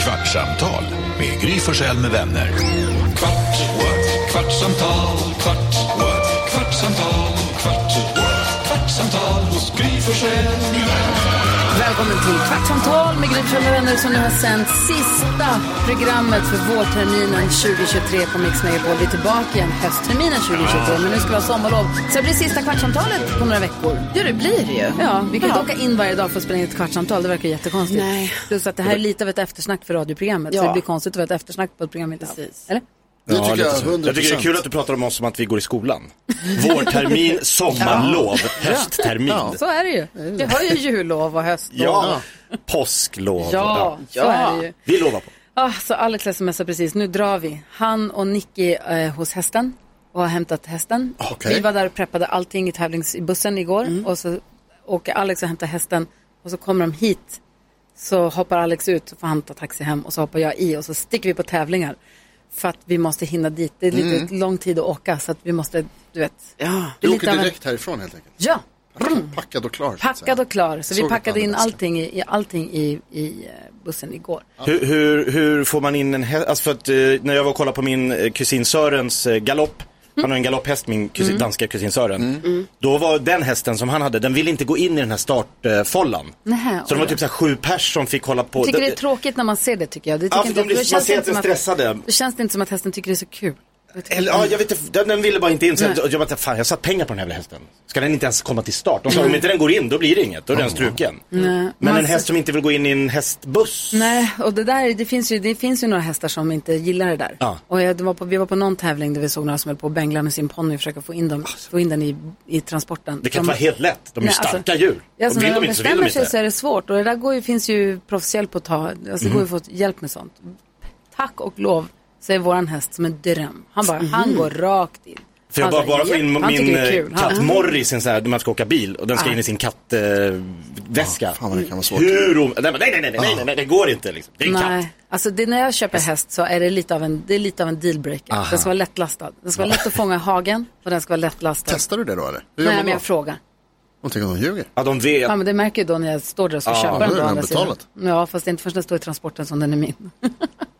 Kvartsamtal med Gry Forssell med vänner. Kvart, what? kvartsamtal, kvart, what? kvartsamtal, kvart, what? kvartsamtal hos Gry Forssell med vänner. Välkommen till Kvartsamtal med Gry Forssell med vänner som nu har sänt sista programmet för vårterminen 2023 på Mix Megapol. Vi är tillbaka igen höstterminen 2023, men nu ska vi ha sommarlov. Så det blir sista Kvartsamtalet på några veckor. Ja, det blir det ju. Ja, vi kan ju inte åka in varje dag för att spela in ett kvartsamtal, det verkar jättekonstigt. Nej. Plus att det här är lite av ett eftersnack för radioprogrammet, så Ja. det blir konstigt att vara ett eftersnack på ett program vi inte Precis. Eller? Det tycker lite jag, så. 100%. jag tycker det är kul att du pratar om oss som att vi går i skolan. Vårtermin, sommarlov, hösttermin. Ja, Så är det ju. Vi har ju jullov och höstlov. påsklov. Ja, så är det ju. Vi lovar på. Ah, så Alex smsar precis, nu drar vi. Han och Nicky eh, hos hästen och har hämtat hästen. Ah, Okej. Mm. Vi var där och preppade allting i tävlingsbussen igår och så åker Alex och hämtar hästen och så kommer de hit. Så hoppar Alex ut så får han ta taxi hem och så hoppar jag i och så sticker vi på tävlingar. För att vi måste hinna dit. Det är lite Mm. lång tid att åka så att vi måste, du vet. det Ja. är Du lite av åker en- direkt härifrån helt enkelt. Ja, Packad och klar. så att säga. packad och klar. Så vi Såg packade att in han hade allting i, i, allting i, i eh, bussen igår. Hur, hur, hur får man in en häst? Alltså för att eh, när jag var och kollade på min eh, kusin Sörens eh, galopp, han har en galopphäst, min kusin, Mm. danska kusin Sören. Då var den hästen som han hade, den ville inte gå in i den här startfållan. Nähä, Så det var oj. typ så här sju pers som fick hålla på. Jag tycker det är tråkigt när man ser det tycker jag. Det tycker Ja, för inte, de blir, det man känns ser att inte de är som stressade. Det känns inte som att hästen tycker det är så kul. Jag tycker- Eller, ja, jag vet inte, den, den ville bara inte in. Så Nej. jag, jag bara, fan jag satt pengar på den här jävla hästen. Ska den inte ens komma till start? De sa, Mm. om inte den går in, då blir det inget. Då är den struken. Men en Massa- häst som inte vill gå in i en hästbuss. Nej, och det, där, det, finns ju, det finns ju några hästar som inte gillar det där. Ja. Och jag, det var på, vi var på någon tävling där vi såg några som höll på att bängla med sin ponny och försöka få in, dem, få in den i, i transporten. Alltså. Det kan De- inte vara helt lätt. De är ju Nej, alltså- starka djur. Ja, Och alltså, vill när de de inte så vill de bestämmer sig så inte. är det svårt och det där går ju, finns ju proffshjälp att ta. Alltså, Det går Mhm. ju att få hjälp med sånt. Tack och lov så är våran häst som en dröm. Han bara, han går rakt in. För Mm. jag Han bara, bara, bara få in "Japp." Han min tycker det är eh, kul. Han- katt Morris i en sån här, när man ska åka bil och den ska in i sin kattväska. Fan vad det kan vara svårt. Hur om... Nej, men nej, nej, nej, nej, nej, nej, det går inte liksom. Det är en katt. Nej, alltså det, när jag köper häst så är det lite av en, det är lite av en dealbreaker. Den ska vara lättlastad. Den ska vara lätt att fånga i hagen och den ska vara lättlastad. Testar du det då eller? Hur gör Nej, man men då? jag frågar. Hon tänker att de ljuger. Ja, de vet. Ja, men det märker ju då när jag står där och ska Ja, köpa då den. är på den andra sidan. betalat. Ja, fast det är inte förrän den står i transporten som den är min.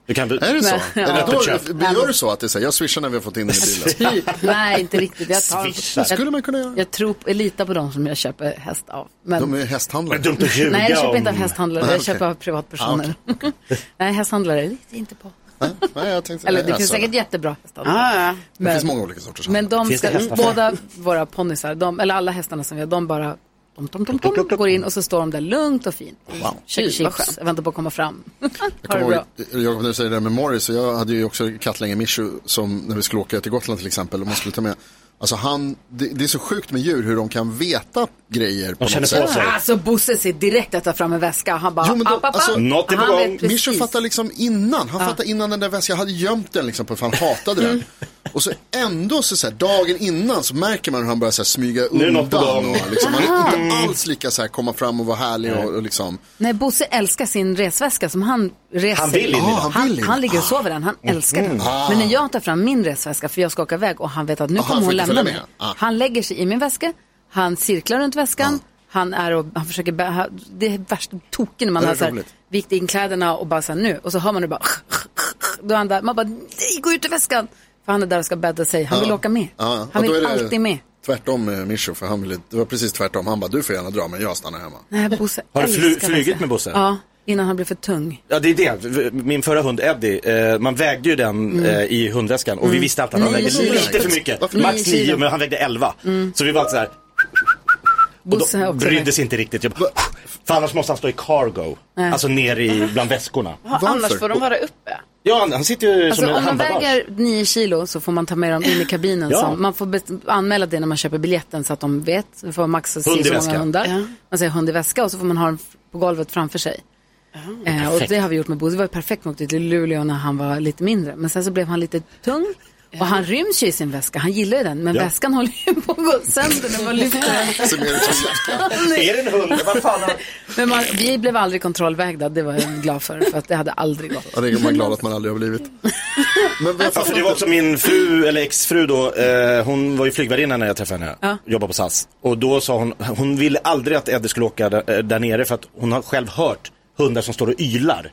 Du kan... Är det så? Nej, ja. Eller Öppet köp. då, men gör du så att det är så här, jag swishar när vi har fått in den i bilen? typ. Nej, inte riktigt. Jag, Swishar. tar, skulle jag, man kunna göra. jag tror, jag litar på dem som jag köper häst av. Men, De är ju Det hästhandlare. är dumt att ljuga nej, jag köper om- inte av hästhandlare. Nej, Jag okej. köper av privatpersoner. nej, hästhandlare litar inte på. Nej, Nej, jag tänkte, Eller det jag finns sa säkert jättebra hästhandlare. Ah, Ja, ja. Alltså- Det finns många olika sorters Men handlare. de Finns det ska, hästaffär? båda våra ponnysar, de, eller alla hästarna som vi har, de bara tom, tom, tom, tom, går in och så står de där lugnt och fint. Wow. Käkar Gud, vad chips, skönt. jag väntar på att komma fram. Jag ha det kommer bra. ihåg, Jakob, när du säger det där med Morris, och jag hade ju också kattlänge Mishu som när vi skulle åka till Gotland till exempel, och man skulle ta med, alltså han, det, det är så sjukt med djur hur de kan veta grejer på De känner något på sätt. sig. Alltså Bosse ser direkt att ta fram en väska, han bara, Jo, men då- app, app, app. alltså, något är på Han vet gång. precis. Mishu fattar liksom innan, han fattar innan den där väskan, jag hade gömt den liksom för han hatade Mm. den. Och så ändå så, så här, dagen innan så märker man hur han börjar så här, smyga är något på undan. gång. Och, liksom, han är inte alls lika så här, komma fram och vara härlig och, och liksom. Nej, Bosse älskar sin resväska som han reser Han vill in i den. Ah. Ah, han, han vill han, in. Mm. ligger och sover i den, han älskar den. Men när jag tar fram min resväska, för jag ska åka iväg och han vet att nu Ah, han kommer får hon inte lämna följa mig. med. Ah. Han lägger sig i min väska, han cirklar runt väskan, Ah. han är och han försöker, bä- han- det är värst token när man Det är har så här, roligt. vikt in kläderna och bara så här nu, och så hör man det bara, då är han där, man bara, nej, gå ut ur väskan. För han är där och ska bädda sig, han vill åka med. Ja, ja. Han Och då vill är det alltid med. Tvärtom med Mishu, för han ville, det var precis tvärtom. Han bara, du får gärna dra, men jag stannar hemma. Nej, Bosse Har du fly- älskar flugit väska. med Bosse? Ja, innan han blir för tung. Ja det är det, min förra hund Eddie, eh, man vägde ju den Mm. eh, i hundväskan och vi visste alltid att han Nio vägde kilo. lite för mycket. Varför Max nio kilo? 9 men han vägde 11. Så vi var så här, och Bosse har de också brydde sig inte riktigt. Jag bara, för annars måste han stå i cargo, alltså ner i, bland väskorna. Ja, Annars får de vara uppe. Ja han, han sitter ju som Alltså en om man handbagage. väger 9 kilo så får man ta med dem in i kabinen. Ja. som, man får bes- anmäla det när man köper biljetten så att de vet. Du får max si Hund i så många väska. hundar. Ja. Man säger hund i väska och så får man ha den f- på golvet framför sig. eh, och det har vi gjort med Bosse. Det var ju perfekt när vi åkte till Luleå när han var lite mindre. Men sen så blev han lite tung. Och han ryms ju i sin väska. Han gillar ju den. Men Ja. väskan håller ju på att gå sönder när man lyfter den. Så mer utan- Är det en hund? Vad fan har... Men man, vi blev aldrig kontrollvägda. Det var jag glad för. För att det hade aldrig gått. Ja, det är man glad att man aldrig har blivit. Men jag Ja, för det var också min fru, eller exfru då, eh, hon var ju flygvärdinna när jag träffade henne, Ja. jobbade på SAS. Och då sa hon, hon ville aldrig att Eddie skulle åka där, eh, där nere för att hon har själv hört hundar som står och ylar.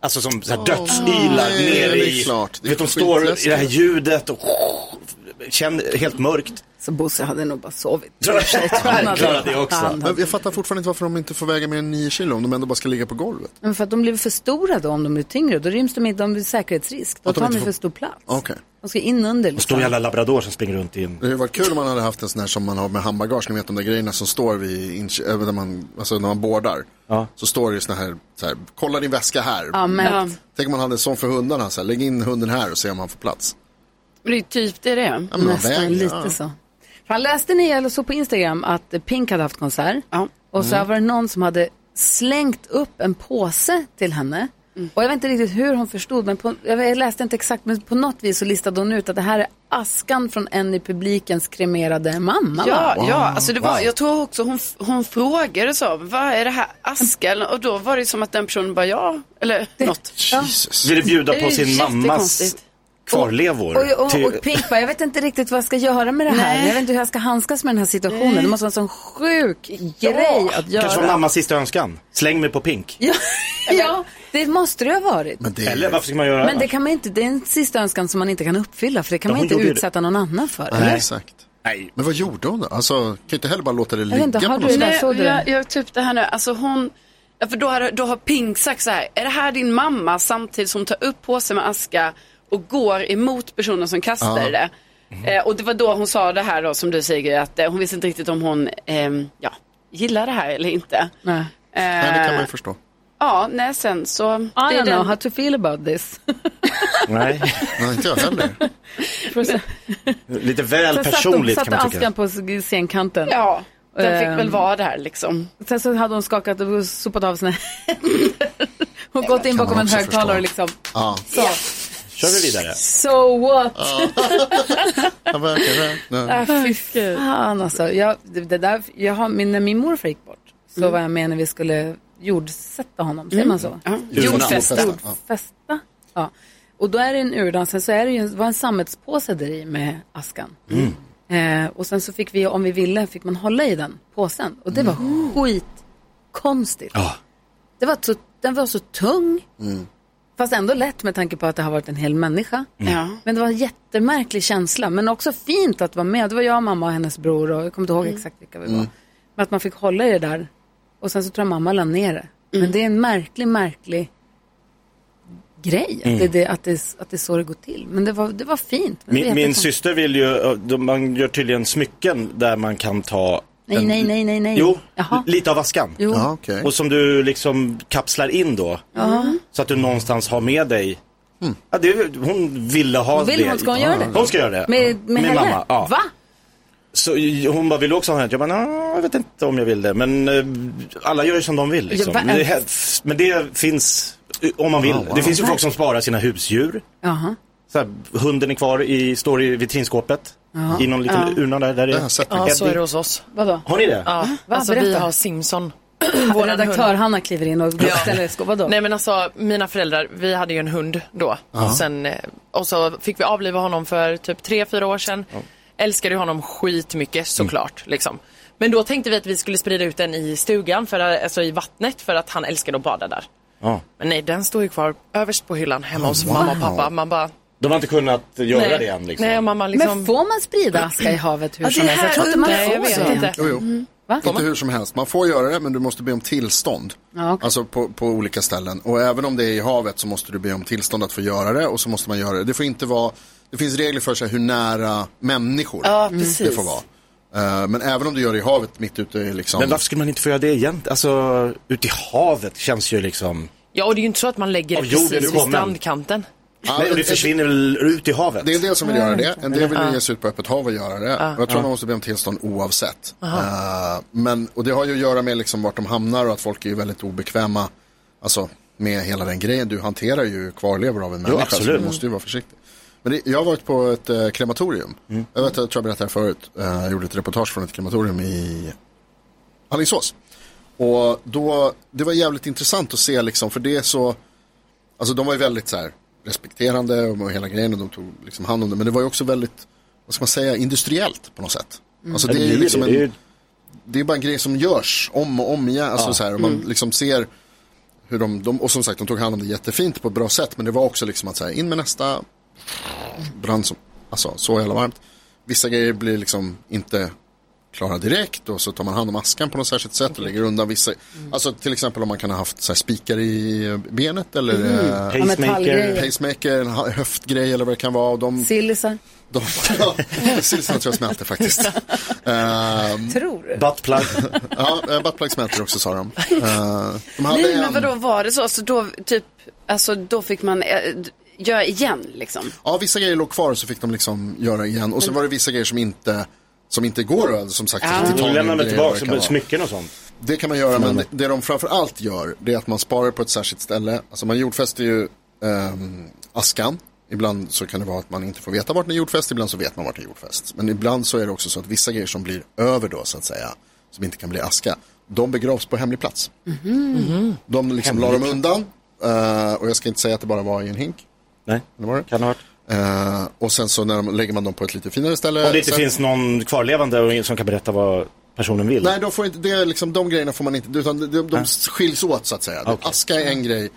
Alltså som så här dödsylar nej, ner det är i... klart. Det är vet, de står i skitläskigt. det här ljudet och... Känner, helt mörkt. Så Bosse hade nog bara sovit. Tror jag- Han klarar det också. Han Men hade- jag fattar fortfarande inte varför de inte får väga mer än 9 kilo om de ändå bara ska ligga på golvet. Men för att de blir för stora då om de blir tyngre. Då ryms de inte, de blir säkerhetsrisk. Då Att de tar de inte ju för får- stor plats. Okej. De ska in under Och stor liksom. jävla labrador som springer runt i en... Det hade varit kul om man hade haft en sån här som man har med handbagage, ni vet de där grejerna som står vid, inch- äh, där man, alltså när man boardar. Ja. Så står det ju sån här, så här, kolla din väska här. Ja, men Ja. Tänk om man hade en sån för hundarna, så här, lägg in hunden här och se om han får plats. Men det är typ det det är. Ja, men nästan väger, lite ja. så. Fan, läste ni eller såg på Instagram att Pink hade haft konsert? Ja. Och så Mm. var det någon som hade slängt upp en påse till henne. Mm. Och jag vet inte riktigt hur hon förstod, men på, jag läste inte exakt, men på något vis så listade hon ut att det här är askan från en i publikens kremerade mamma. Ja, va? ja alltså det var, wow. jag tror också hon, hon frågade så, vad är det här askan? Och då var det som att den personen bara ja, eller något. Jesus. Ville bjuda Det är på ju sin mammas jättekonstigt. kvarlevor. Och, och, till- och Pink bara, jag vet inte riktigt vad jag ska göra med det här. Jag vet inte hur jag ska handskas med den här situationen. Det måste vara en sån sjuk grej att göra. Kanske var mammas sista önskan. Släng mig på pink. Ja, ja, det måste det ha varit. Men det Eller varför ska man göra Men det annars? kan man inte, det är en sista önskan som man inte kan uppfylla för det kan Ja, man hon inte gjorde ju utsätta någon annan för. Nej, Eller? exakt. Nej. Men vad gjorde hon då? Alltså, kan ju inte heller bara låta det ligga vet inte, har på du något det? sätt. Nej, såg du jag, jag typ det här nu, alltså hon, ja, för då har, då har Pink sagt så här, är det här din mamma? Samtidigt som hon tar upp påsen med aska och går emot personen som Ja. kastar det. Eh, och det var då hon sa det här då som du säger att eh, hon visste inte riktigt om hon ehm, ja, gillar det här eller inte. Nej. Nej, det kan Eh, man ju förstå. Ja, nej sen så. I det don't är know den- how to feel about this. Nej. Nej, inte jag heller. Lite väl Sen satt personligt hon, kan satt man tycka. askan på scenkanten. Ja, den Ehm. fick väl vara där liksom. Sen så hade hon skakat och sopat av sina Hon gått in bakom man en också högtalare förstå. liksom. Ja, Så. Kör vi vidare. So what? han verkar det. Nej. Fan alltså, jag, det det där, jag har, min, när min morfar gick bort så var jag med när vi skulle jordsätta honom, säger man så? Ja. Jordfästa. Jordfästa. Ja. Festa. Ja. Och då är det en urdans, sen så är det ju en, var en sammetspåse där i med askan. Eh, och sen så fick vi, om vi ville, fick man hålla i den påsen. Och det var skitkonstigt. Ja. Det var så, den var så tung, fast ändå lätt med tanke på att det har varit en hel människa. Mm. Ja. Men det var en jättemärklig känsla, men också fint att vara med. Det var jag, mamma och hennes bror och jag kommer inte ihåg Mm. exakt vilka vi var. Men att man fick hålla i det där och sen så tror jag mamma la ner det. Mm. Men det är en märklig, märklig grej att, det, Mm. det, att, det, att det är så det går till. Men det var, det var fint. Men det är Min, min jättekonstigt. syster vill ju, de- man gör tydligen smycken där man kan ta... Nej, nej, nej, nej, nej. Jo, Jaha. lite av askan. Jo. Ja, okej. Och som du liksom kapslar in då. Så att du någonstans har med dig. Mm. Ja, det, är- hon ville ha Vill det. hon, ska hon göra det? Hon ska göra det. Med, med, Min henne? mamma. Ja. Va? Så hon bara, vill du också ha en? Jag bara, "Nja, jag vet inte om jag vill det. Men eh, alla gör ju som de vill. Ja, Liksom. va- Men, det, här- men det finns, eh, om man vill. Ah, wow. Det finns ju folk som sparar sina husdjur. Jaha. Så här, hunden är kvar i, står i vitrinskåpet. I någon liten urna där. där Jag har sett Ja, mycket. så är det hos oss. Vadå? Har ni det? Ja, alltså, vi Berätta. har Simson. Vår Våran redaktör hund. Hanna kliver in och Ja. ställer skåp. Vadå? Nej men alltså mina föräldrar, vi hade ju en hund då. Och, sen, eh, och så fick vi avliva honom för typ tre fyra år sedan. Älskade ju honom Mm. skitmycket såklart. Liksom. Men då tänkte vi att vi skulle sprida ut den i stugan, för, alltså i vattnet, för att han älskade att bada där. Ja. Men nej, den står ju kvar överst på hyllan hemma Ah, hos mamma och pappa. Man bara, De har inte kunnat göra nej, det än liksom. nej, mamma liksom. Men får man sprida aska i havet hur Ja, det som helst? här- Jag tror inte man Nej, jag får vet det. inte. Jo, jo. Mm. Va? Inte hur som helst. Man får göra det, men du måste be om tillstånd. Ja, okej. Alltså på, på olika ställen. Och även om det är i havet så måste du be om tillstånd att få göra det. Och så måste man göra det. Det får inte vara... Det finns regler för sig hur nära människor Ja, det precis. får vara. Eh, Men även om du gör det i havet mitt ute i liksom... Men varför skulle man inte få göra det egentligen? Alltså, ute i havet känns ju liksom... Ja, och det är ju inte så att man lägger Av det jorden precis vid kommer. strandkanten. Ja, Nej, och det försvinner väl ut i havet? Det är en del som vill göra det, en del vill ge sig ut på öppet hav och göra det. Och jag tror man måste be om tillstånd oavsett. Eh, men, och det har ju att göra med liksom vart de hamnar och att folk är ju väldigt obekväma alltså, med hela den grejen. Du hanterar ju kvarlevor av en människa så absolut. du måste ju vara försiktig. Men det, jag har varit på ett eh, krematorium. Jag, vet, jag tror jag berättade det här förut. Eh, jag gjorde ett reportage från ett krematorium i Alingsås. Och då, det var jävligt intressant att se liksom, för det är så, alltså de var ju väldigt så här respekterande och hela grejen och de tog liksom hand om det. Men det var ju också väldigt, vad ska man säga, industriellt på något sätt. Alltså det är ju liksom en, det är ju- det är bara en grej som görs om och om igen. Alltså så här, och man liksom ser hur de, de, och som sagt, de tog hand om det jättefint på ett bra sätt. Men det var också liksom att säga in med nästa brand som, alltså så jävla varmt. Vissa grejer blir liksom inte klara direkt och så tar man hand om askan på något särskilt sätt och lägger undan vissa. Alltså till exempel om man kan ha haft så här, spikar i benet eller eh, Ja, metallgrejer. pacemaker, en ha- höftgrej eller vad det kan vara. Och de, Sillisar. de, ja, silsarna tror jag smälter faktiskt. Eh, Tror du? Buttplug. Ja, eh, buttplug smälter också sa de. Eh, de hade Nej, men en- vadå, var det så? Så då, typ, alltså, då fick man eh, d- göra igen liksom? Ja, vissa grejer låg kvar så fick de liksom göra igen. Och sen var det vissa grejer som inte, som inte går att som sagt. Ja. Då lämnar man tillbaka smycken och sånt. Det kan man göra, men det de framför allt gör, det är att man sparar på ett särskilt ställe. Alltså man jordfäster ju ehm, askan. Ibland så kan det vara att man inte får veta vart den är jordfäst, ibland så vet man vart den är jordfäst. Men ibland så är det också så att vissa grejer som blir över då, så att säga, som inte kan bli aska, de begravs på hemlig plats. De liksom la dem undan, eh, och jag ska inte säga att det bara var i en hink. Nej, Eller var det? kan ha varit. Eh, och sen så när de, lägger man dem på ett lite finare ställe. Om det inte sen, finns någon kvarlevande och- som kan berätta vad personen vill. Nej, de, får inte, det är liksom, de grejerna får man inte, utan de, de, de skiljs åt så att säga. Okej. Mm. Aska är en grej,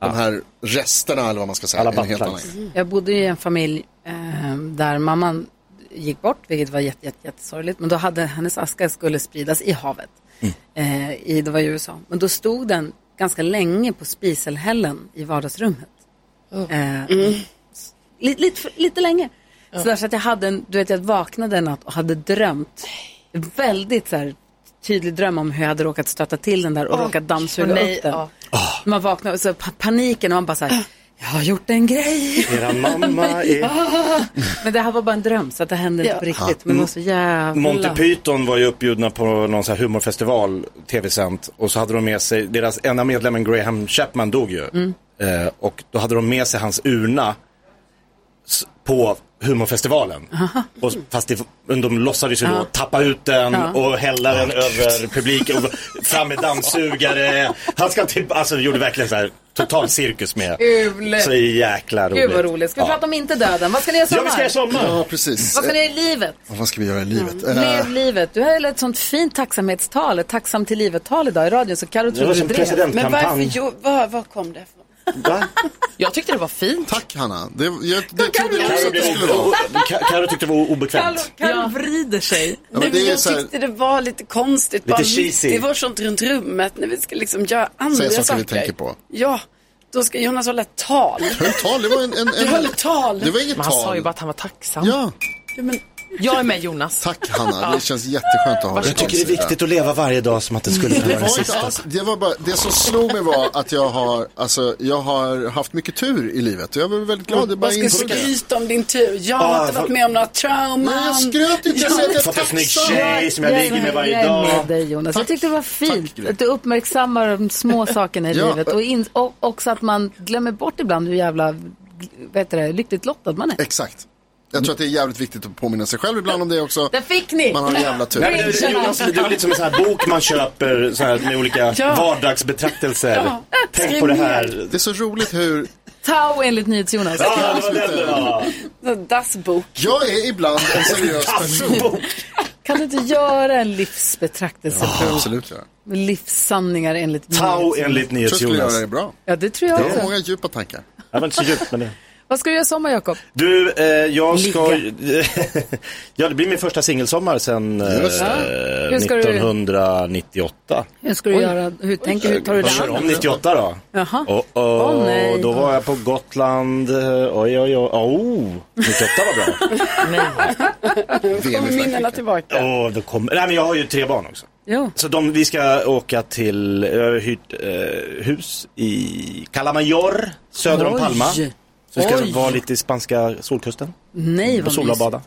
de här resterna eller vad man ska säga. Alla är en helt annan buttplugs. grej. Jag bodde i en familj eh, där mamman gick bort, vilket var jätte, jätte, jättesorgligt. Men då hade hennes aska skulle spridas i havet. Eh, i, det var i USA. Men då stod den ganska länge på spiselhällen i vardagsrummet. Oh. Eh, Mm. s- lite, lite, för- lite länge. Så, där, så att jag hade en, du vet jag vaknade en natt och hade drömt. En Väldigt så här, tydlig dröm om hur jag hade råkat stöta till den där och råkat dammsuga åh nej, upp den. ja. Man vaknade och så pa- paniken och man bara så här, jag har gjort en grej. Era mamma är... Men det här var bara en dröm så att det hände inte på riktigt. Men det var så jävla... Mm. Monty Python var ju uppbjudna på någon så här humorfestival, tv-sänt. Och så hade de med sig, deras ena medlemmen Graham Chapman dog ju. Mm. Eh, och då hade de med sig hans urna s- på humorfestivalen. Och, s- fast det, men de låtsades ju då tappa ut den och hälla den över publiken. Och fram med dammsugare. Han ska typ, alltså gjorde verkligen så här total cirkus med. Kul. Så jäkla roligt. Gud vad roligt. Ska vi Ja. prata om inte döden? Vad ska ni göra i Ja, vi ska sommar? göra sommar. Ja, precis. Vad ska ni göra i livet? Eh, vad ska vi göra i livet? Mm. Eh, Lev livet. Du höll ett sånt fint tacksamhetstal, ett tacksam till livet-tal idag i radion så Carro Det trodde var du som drev. Men varför, presidentkampanj. jo, vad, vad kom det ifrån? Va? Jag tyckte det var fint. tack Hanna. Det, jag, det trodde jag också Karo att det blev skulle vara. o- o- Ka- Karo tyckte det var obekvämt. Carro vrider sig. Ja, Nej, men men det är jag så här, tyckte det var lite konstigt. bara mitt cheesy. i varsitt runt rummet när vi ska liksom göra andra Säga saker. saker vi tänker på. Ja, då ska Jonas hålla ett tal. höll tal, det var en... en, en Du höll ett tal. Det var inget Men han sa ju tal. bara att han var tacksam. Ja, Ja, men, Jag är med Jonas. tack Hanna. Det känns jätteskönt att ha dig Jag på tycker det är din sida. viktigt att leva varje dag som att det skulle kunna Det vara den var inte sista. alls, det var bara, det som slog mig var att jag har, alltså jag har haft mycket tur i livet. Jag var väldigt glad. Det är bara vad ska insåg det. skryta om din tur? Jag har Ah, inte vad- varit med om några trauman. Nej, jag skröt inte. Jag sa att jag Fått är en snygg tacksam. tjej som jag ligger med varje Jag är med dag. dig Jonas. Jag Tack. tyckte det var Tack, fint Gry. att du uppmärksammar de små sakerna i Ja. livet och, in, och också att man glömmer bort ibland hur jävla vet du, det, lyckligt lottad man är. Exakt. Jag tror att det är jävligt viktigt att påminna sig själv ibland om det också. Där fick ni! Man har en jävla tur. Nej, men det- Jonas, det är lite som en sån här bok man köper så här, med olika vardagsbetraktelser. Tänk på det här. Det är så roligt hur Tau enligt NyhetsJonas. Ja, det var den det var. En dassbok. jag är ibland en seriös person. Kan du inte göra en livsbetraktelse på Absolut, ja. Jag livssanningar enligt Tau Nyhets- enligt tror jag skulle NyhetsJonas. göra det bra. Ja, det tror jag Jag har också. många djupa tankar. Jag var inte så djupt men det. Vad ska du göra i sommar, Jakob? Du, eh, jag ska... ja, det blir min första singelsommar sen eh, Just Hur ska du- 1998. Hur ska du göra? Hur tänker du? Tar du Vad det kör an? om 98 då? Jaha. Oh, oh, Åh, nej. Då var jag på Gotland. eh, Oj, oj, oj. Oh, 98 var bra. VM i Minnena Frankrike. tillbaka. oh, då kom... Nej, men jag har ju tre barn också. Jo. Så de, vi ska åka till, jag har hyrt eh, hus i Calamayor, söder om Oj. Palma. Så vi ska Oj. vara lite i spanska solkusten, Nej, och vad sola och mysigt. bada.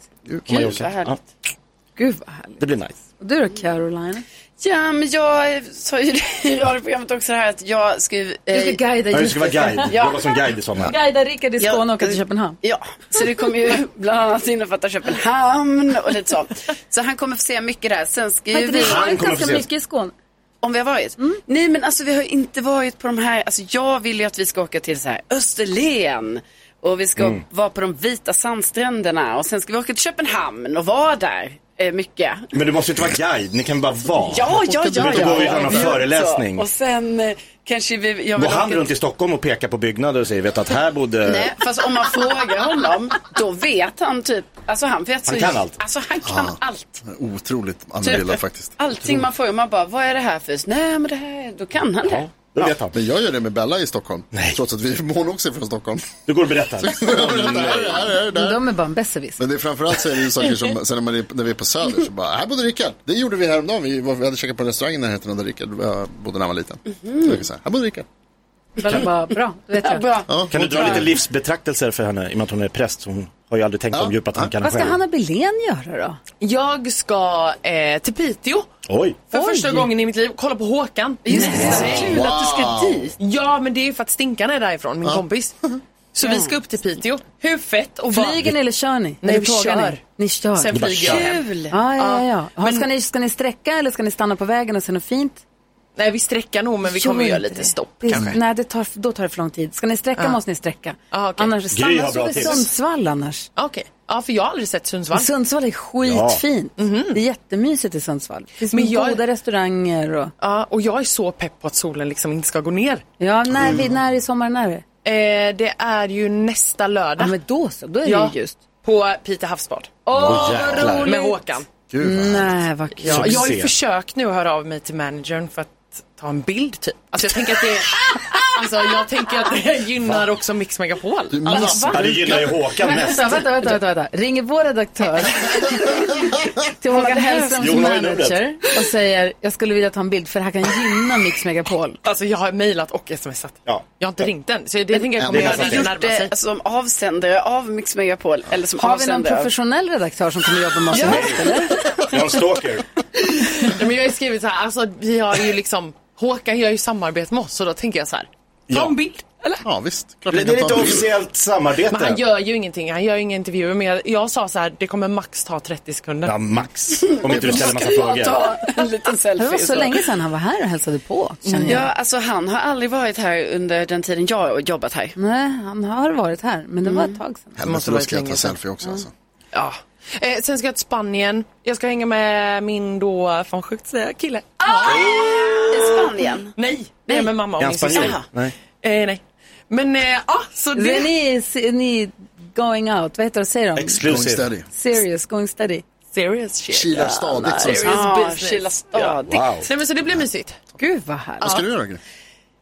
Mallorca. vad härligt. Ja, Gud, vad härligt. det blir nice. Och du då, Caroline? Ja, men jag sa ju det i radioprogrammet också här att jag ska ju... Du ska eh, guida Ja, jag ska vara guide, Ja. jobba som guide i sommar. Guida Rickard i Ja. Skåne och åka till Köpenhamn. Ja, så det kommer ju bland annat innefatta Köpenhamn och lite så. Så han kommer få se mycket där. Sen ska Har ju inte ni vi... Han varit kommer ganska få se. mycket i Skåne? Om vi har varit? Mm. Nej men alltså vi har ju inte varit på de här, alltså jag vill ju att vi ska åka till så här Österlen Mm. och vi ska vara på de vita sandstränderna och sen ska vi åka till Köpenhamn och vara där. eh, mycket. Men du måste inte vara guide, ni kan bara vara. Ja, ja, Du ja. behöver inte ja, gå ut på någon ja. föreläsning. Så, Och sen eh, kanske vi... Jag Går vill han åka- runt i Stockholm och pekar på byggnader och säger, vet du att här bodde... Nej, fast om man frågar honom, då vet han typ, alltså han vet Han så- kan allt. Alltså han kan allt. Otroligt Typ, annorlunda faktiskt. Allting man frågar, man bara, vad är det här för hus? Nej, men det här, då kan han det. Då vet han. Men jag gör det med Bella i Stockholm. Trots att vi, hon också är från Stockholm. Du går och berättar. Men de är bara en besserwisser. Men det är framförallt så är det ju saker som, sen när, man är, när vi är på Söder så bara, här bodde Rickard. Det gjorde vi häromdagen. Vi, var, vi hade käkat på en restaurang i närheten där Rickard eh, bodde när han var liten. Mhm. Så det är så här, här bodde Rickard. Bella bara, bra, då vet Ja, jag. bra. Ja, Kan du hon dra tror lite det. livsbetraktelser för henne, i och med att hon är präst? så Hon har ju aldrig tänkt Ja. de djupa tankarna Vad ska själv. Hanna Billén göra då? Jag ska eh, till Piteå Oj. för Oj. första gången i mitt liv. Kolla på Håkan. Just det, så kul att du ska dit. Ja, men det är ju för att Stinkan är därifrån, min kompis. Så vi ska upp till Piteå. Hur fett och vad... Flyger ni eller kör ni? Nej, Eller vi tågar kör. Ni? ni kör. Sen flyger jag hem. Kul! Ja, ja, ja. ja. Men- Ska, ni, ska ni sträcka eller ska ni stanna på vägen och se något fint? Nej, vi sträcker nog, men vi Gör kommer göra inte lite det. stopp Det är- kanske. Nej, det tar, då tar det för lång tid. Ska ni sträcka måste ni sträcka. Ah, okej. Annars Gry stanna har bra så i tips. Sundsvall annars. Okej. Ja, för jag har aldrig sett Sundsvall. Sundsvall är skitfint. Det är jättemysigt i Sundsvall. Det finns Mhm. Men jag- goda restauranger och... Ja, och jag är så pepp på att solen liksom inte ska gå ner. Ja, när, vi, Mm. när i sommaren är det? Eh, det är ju nästa lördag. Ja, men då så. Då är Ja, det ju ljust. På Pite havsbad. Åh, jäklar. Med Håkan. Gud, Mm. vad- Nej, vad kul. Ja, jag har ju Succé. försökt nu höra av mig till managern för att ta en bild typ. Alltså jag tänker att det, alltså, jag tänker att det gynnar också Mix Megapol. Alltså, du missar. Ja, det gynnar ju Håkan mest. Vänta, vänta, vänta, vänta, vänta. Ringer vår redaktör till Håkan Hellströms Jo, hon har ju numret. manager och säger jag skulle vilja ta en bild för det här kan gynna Mix Megapol. Alltså jag har mejlat och smsat. Ja. Jag har inte ringt än. Så det jag tänker jag kommer det är göra när nästan fel. det närmar Det, sig. alltså, som avsändare av Mix Megapol, eller som Har vi någon avsändare av... professionell redaktör som kommer jobba med oss? ja. Jag är en stalker. Nej, men jag har ju skrivit så här, alltså vi har ju liksom, Håkan gör ju samarbete med oss så då tänker jag så här, ta Ja. en bild. Eller? Ja, visst. Klart Det jag är kan ta lite en bild. officiellt Men han samarbete. gör ju ingenting, han gör ju inga intervjuer. Men jag, jag sa så här, det kommer max ta 30 sekunder. Ja, max. Om inte du ställer massa frågor. Ta en liten selfie. Det var så länge sedan han var här och hälsade på. Känner Ja, jag. alltså han har aldrig varit här under den tiden jag har jobbat här. Nej, han har varit här, men det var ett tag sedan. Helvete, måste då vara ska jag ta länge sedan. selfie också alltså. Mm. Ja. Eh, sen ska jag till Spanien. Jag ska hänga med min då, fan sjukt säga, kille. Ah! I Spanien. Nej, nej, med mamma och Är min han spanjor? syster. Jaha. Nej. Eh, nej. Men ja, eh, ah, så Det... Är det... ni, är ni going out? Vad heter det? Säger de? Going Exclusive. steady. Serious, going steady. Serious shit. Kilar stadigt. som sagt. serious Ja, business. Kila stad. Wow. Nej men så det blir mysigt. Gud vad härligt. Vad ska du göra Gry?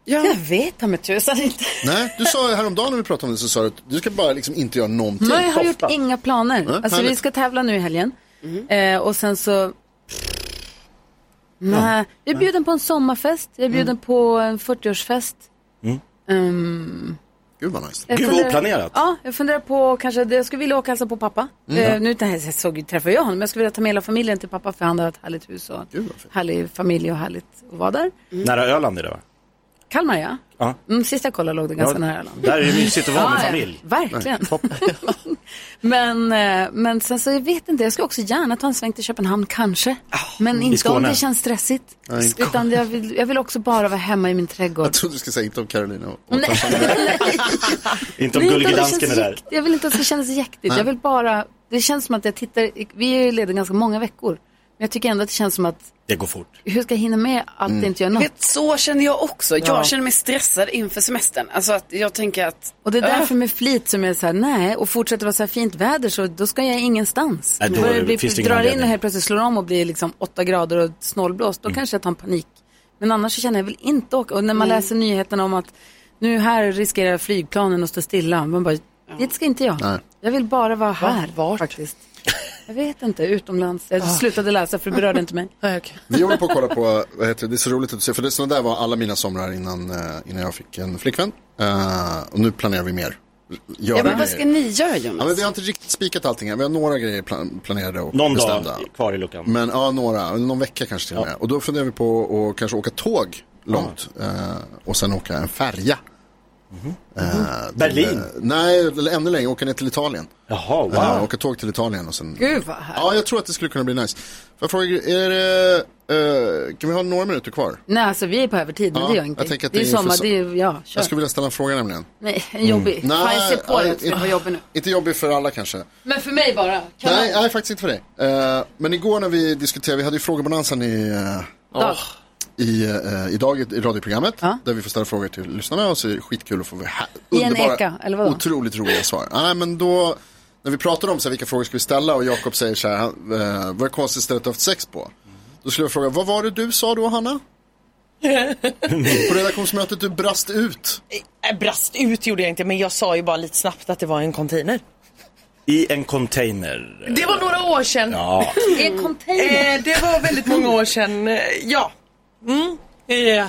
Jag vet ta mig tusan inte. Nej, du sa ju häromdagen när vi pratade om det så sa du att du ska bara liksom inte göra någonting. Nej, jag har gjort inga planer. alltså vi härligt. ska tävla nu i helgen. Eh, och sen så... Nej, jag är bjuden på en sommarfest. Jag är bjuden på en 40-årsfest. Gud vad nice. Jag Gud, vad funderar- oplanerat. Mm. Ja, jag funderar på kanske, jag skulle vilja åka och hälsa på pappa. Eh, nu inte- jag såg, träffade jag honom, men jag skulle vilja ta med hela familjen till pappa för han har ett härligt hus och Gud, vad fint. härlig familj och härligt att vara där. Nära Öland är det va? Kalmar ja. Ja. Mm, sist jag kollade låg det ganska nära Öland. Där är det mysigt att vara med Ja, ja, familj. Verkligen. men, eh, men sen så jag vet inte, jag skulle också gärna ta en sväng till Köpenhamn kanske. Men inte om Ah, Skåne. det känns stressigt. Utan jag vill, jag vill också bara vara hemma i min trädgård. Jag trodde du skulle säga inte om Carolina och Nej, nej, Inte om nej, utan gullige det dansken är känns där. jäkt- Jag vill inte att det känns jäktigt. Jag vill bara, det känns som att jag tittar, vi är ju lediga ganska många veckor. Men jag tycker ändå att det känns som att, Det går fort. hur ska jag hinna med att Mm. inte göra något? Vet, så känner jag också. Jag känner mig stressad inför semestern. Alltså att jag tänker att... Och det är därför med flit som jag är så här, nej, och fortsätter vara så här fint väder så då ska jag ingenstans. Nej, då Börjar det bli, finns det ingen drar in och anledning. Mm. helt plötsligt slår om och blir liksom åtta grader och snålblåst, då kanske jag tar en panik. Men annars så känner jag, jag vill inte åka. Och när man läser nyheterna om att nu här riskerar flygplanen att stå stilla, man bara, det ska inte jag. Nej. Jag vill bara vara här Vart? faktiskt. Jag vet inte, utomlands. Ah. Jag slutade läsa för det berörde inte mig. Nej, okej. Vi håller på att kolla på, vad heter det, det är så roligt att du säger, för det sådana där var alla mina somrar innan, eh, innan jag fick en flickvän. Eh, och nu planerar vi mer. Göra Ja, men vad grejer. ska ni göra Ja, men Jonas? vi har inte riktigt spikat allting än. Vi har några grejer plan- planerade och Någon bestämda. dag kvar i luckan. Men ja, några. Någon vecka kanske till och med. Och då funderar vi på att kanske åka tåg långt. Eh, och sen åka en färja Eh, till, Mhm. Berlin? eh, nej, eller ännu längre, åka ner till Italien. Jaha, wow. Eh, åka tåg till Italien och sen... Gud vad här. Ja, jag tror att det skulle kunna bli nice. Får jag fråga, är det, eh, kan vi ha några minuter kvar? Nej, alltså vi är på övertid, men Ja, det gör jag ingenting. tänker att det är det ju är sommar, för- det är ju, ja, kör. Jag skulle vilja ställa en fråga nämligen. Nej, en jobbig. Fan, jag ser på dig att det nej, eh, var jobbig nu. Inte jobbig för alla kanske. Men för mig bara. Kan Nej, Nej, nej, faktiskt inte för dig. Eh, men igår när vi diskuterade, vi hade ju frågebonansen i, eh, Dag. i, eh, idag i radioprogrammet. Ja. Där vi får ställa frågor till lyssnarna och så är det skitkul att få här, I en eka, eller vadå? otroligt roliga svar. Nej, men då, när vi pratade om så här, vilka frågor ska vi ställa och Jakob säger så här, han, eh, vad är det konstigaste stället du haft sex på? Då skulle jag fråga, vad var det du sa då Hanna? på redaktionsmötet du brast ut. Jag Eh, brast ut gjorde jag inte, men jag sa ju bara lite snabbt att det var en container. I en container. Det var några år sedan. Ja. I en container. Eh, det var väldigt många år sedan, eh, ja. Mm. Eh,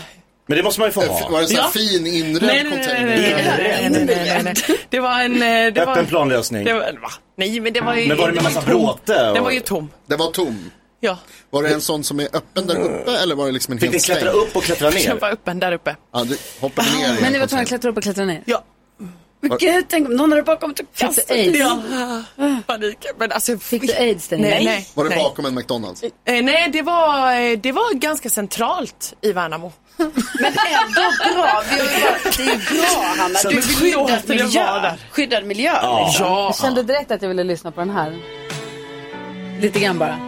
Men det måste man ju få Eh, Var det ha. en sån här Ja. fin inredd Nej, nej, nej, container? nej, nej, eh, nej, nej, nej, nej, nej. Det var en... eh, Det var, Öppen planlösning. Det var, va? Nej, men det var ju... Men var det med ju massa tom. bråte och- Den var ju tom. Det var tom. Ja, Var det en sån som är öppen där uppe eller var det liksom en Fick ni helt klättra upp och klättra den ner? var öppen där uppe. Ja, du hoppade ner i en Ah, Men ni var tvungna container. att klättra upp och klättra ner. Ja. Gud, tänk om någon hade bakom och Fick kastat du aids? Ja, panik. Men alltså, Fick du aids där inne? Nej, nej. Var det nej. bakom en McDonalds? Eh, nej, det var, eh, det var ganska centralt i Värnamo. Men ändå bra. Vi har ju varit- det är ju bra, Hanna. Du men förlåt skyddad att det var miljö. där. Skyddad miljö. liksom. Ja. Jag kände direkt att jag ville lyssna på den här. Lite grann bara.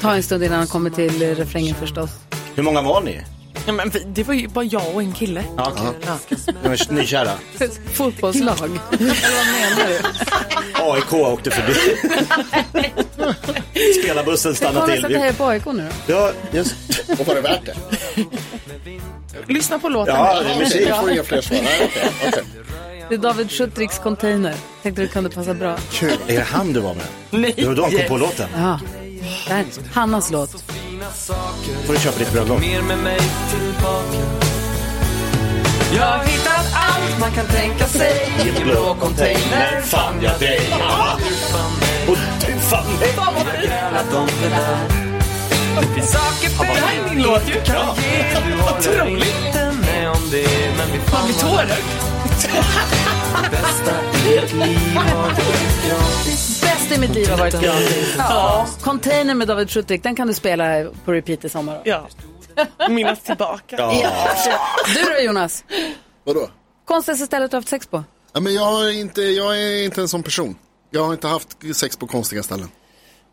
Ta en stund innan han kommer till eh, refrängen förstås. Hur många var ni? Ja, men vi- det var ju bara jag och en kille. Ja, Ni var Nykära? Fotbollslag. Eller vad menar du? AIK åkte förbi. Spelarbussen Kommer stannade det sig att det här till. är på AIK nu då? Ja, just. Och var det värt det? Lyssna på låten. ja det är Okej, musik. jag får inga fler svar. Nej, okej, okej. Det är David Schuttriks container. Tänkte du kunde passa bra. Är det han du var med? Nej. Det var då han kom på låten. Ja. Där. Hannas låt. får du köpa ditt bröllop. mer med mig tillbaka Jag har hittat allt man kan tänka sig I en blå container fann jag dig. Och du fann mig. Att de är där Det finns saker för Det här är min låt ju. kan ge Du håller inte med om det Men vi fan Man blir vad tårögd. det bästa i ett liv har varit gratis Bäst i mitt liv har varit gratis. Ja. Container med David Schutrik, den kan du spela på repeat i sommar. då. ja. Minnas tillbaka. Ja. Du då Jonas? Vadå? Konstigaste stället du har haft sex på? Ja, men jag, har inte, jag är inte en sån person. Jag har inte haft sex på konstiga ställen.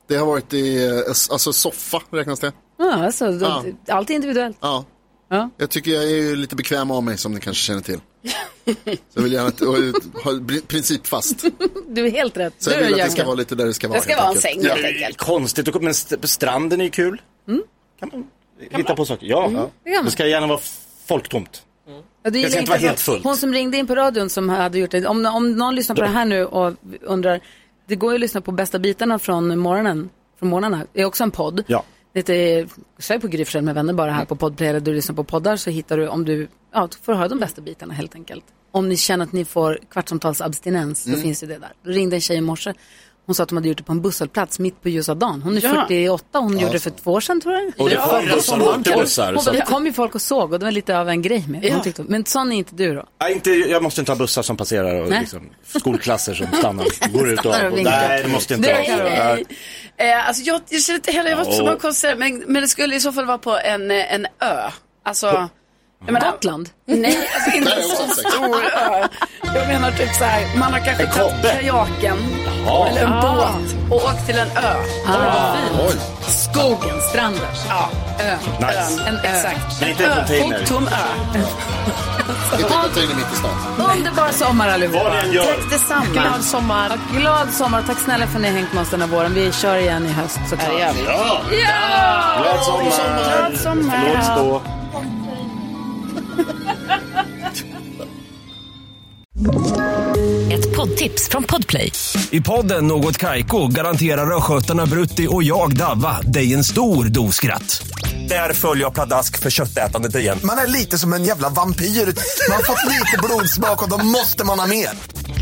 Det har varit i, eh, alltså soffa räknas det? Ja, alltså, då- Allt är individuellt. Ja. Ja. Jag tycker jag är ju lite bekväm av mig som ni kanske känner till. Så jag vill gärna att- och, ha bli- principfast. Du är helt rätt. Så du jag vill att det ska Bianca. vara lite där det ska vara. Det ska helt vara en enkelt. säng Ja. helt enkelt. Konstigt. Men st- stranden är ju kul. Kan man hitta på saker. Ja. Mm. kan man. Det ska gärna vara folktomt. Ja, du Jag gillar ska inte vara inte helt fullt. Hon som ringde in på radion som hade gjort det. Om, om någon lyssnar på det här nu och undrar. Det går ju att lyssna på bästa bitarna från morgonen. Från morgnarna. Det är också en podd. Ja. Mm. Det är, Sverige på Gryfsjön med vänner bara här på poddplay. Där du lyssnar på poddar så hittar du om du, ja, du får höra de bästa bitarna helt enkelt. Om ni känner att ni får kvartsamtalsabstinens Mm. så finns ju det där. Då ringde en tjej i morse. Hon sa att de hade gjort det på en busshållplats mitt på ljusa dagen. Hon är Ja. 48, hon gjorde det för två år sedan tror jag. Och det kom bussar och Alltså, åkte bussar. Hon så bara, att- det kom ju folk och såg och det var lite av en grej med. Hon Ja. tyckte, men sån är inte du då? Nej, inte, jag måste inte ha bussar som passerar och Nej. liksom, skolklasser som stannar. Går ut och, Stannar och och vinkar. Nej, det måste jag Det inte kan ha. vara. Nej. Eh, alltså jag, jag känner inte heller, jag var inte så Ja. många konserter, men, men det skulle i så fall vara på en, eh, en ö. Alltså, jag menar, Gotland? Nej, alltså inte Där är en också så sex. stor ö. Jag menar typ så här, man har kanske En tagit kobbe. kajaken Ja. eller en Ah. båt och åkt till en ö. Oj. Skogen, stranden. Ja, ö. Nice. Ön. En, exakt. Men En inte en ö, container. folktom ö. Inte container mitt i stan. Underbar sommar Vad allihopa. ni än gör. Tack detsamma. Glad sommar. Glad sommar. Tack snälla för att ni har hängt med oss den här våren. Vi kör igen i höst såklart. Det gör vi. Glad sommar. Glad sommar. Låt stå. Ett poddtips från Podplay. I podden Något Kaiko garanterar östgötarna Brutti och jag, Davva, dig en stor dos skratt. Där följer jag pladask för köttätandet igen. Man är lite som en jävla vampyr. Man har fått lite blodsmak och då måste man ha mer.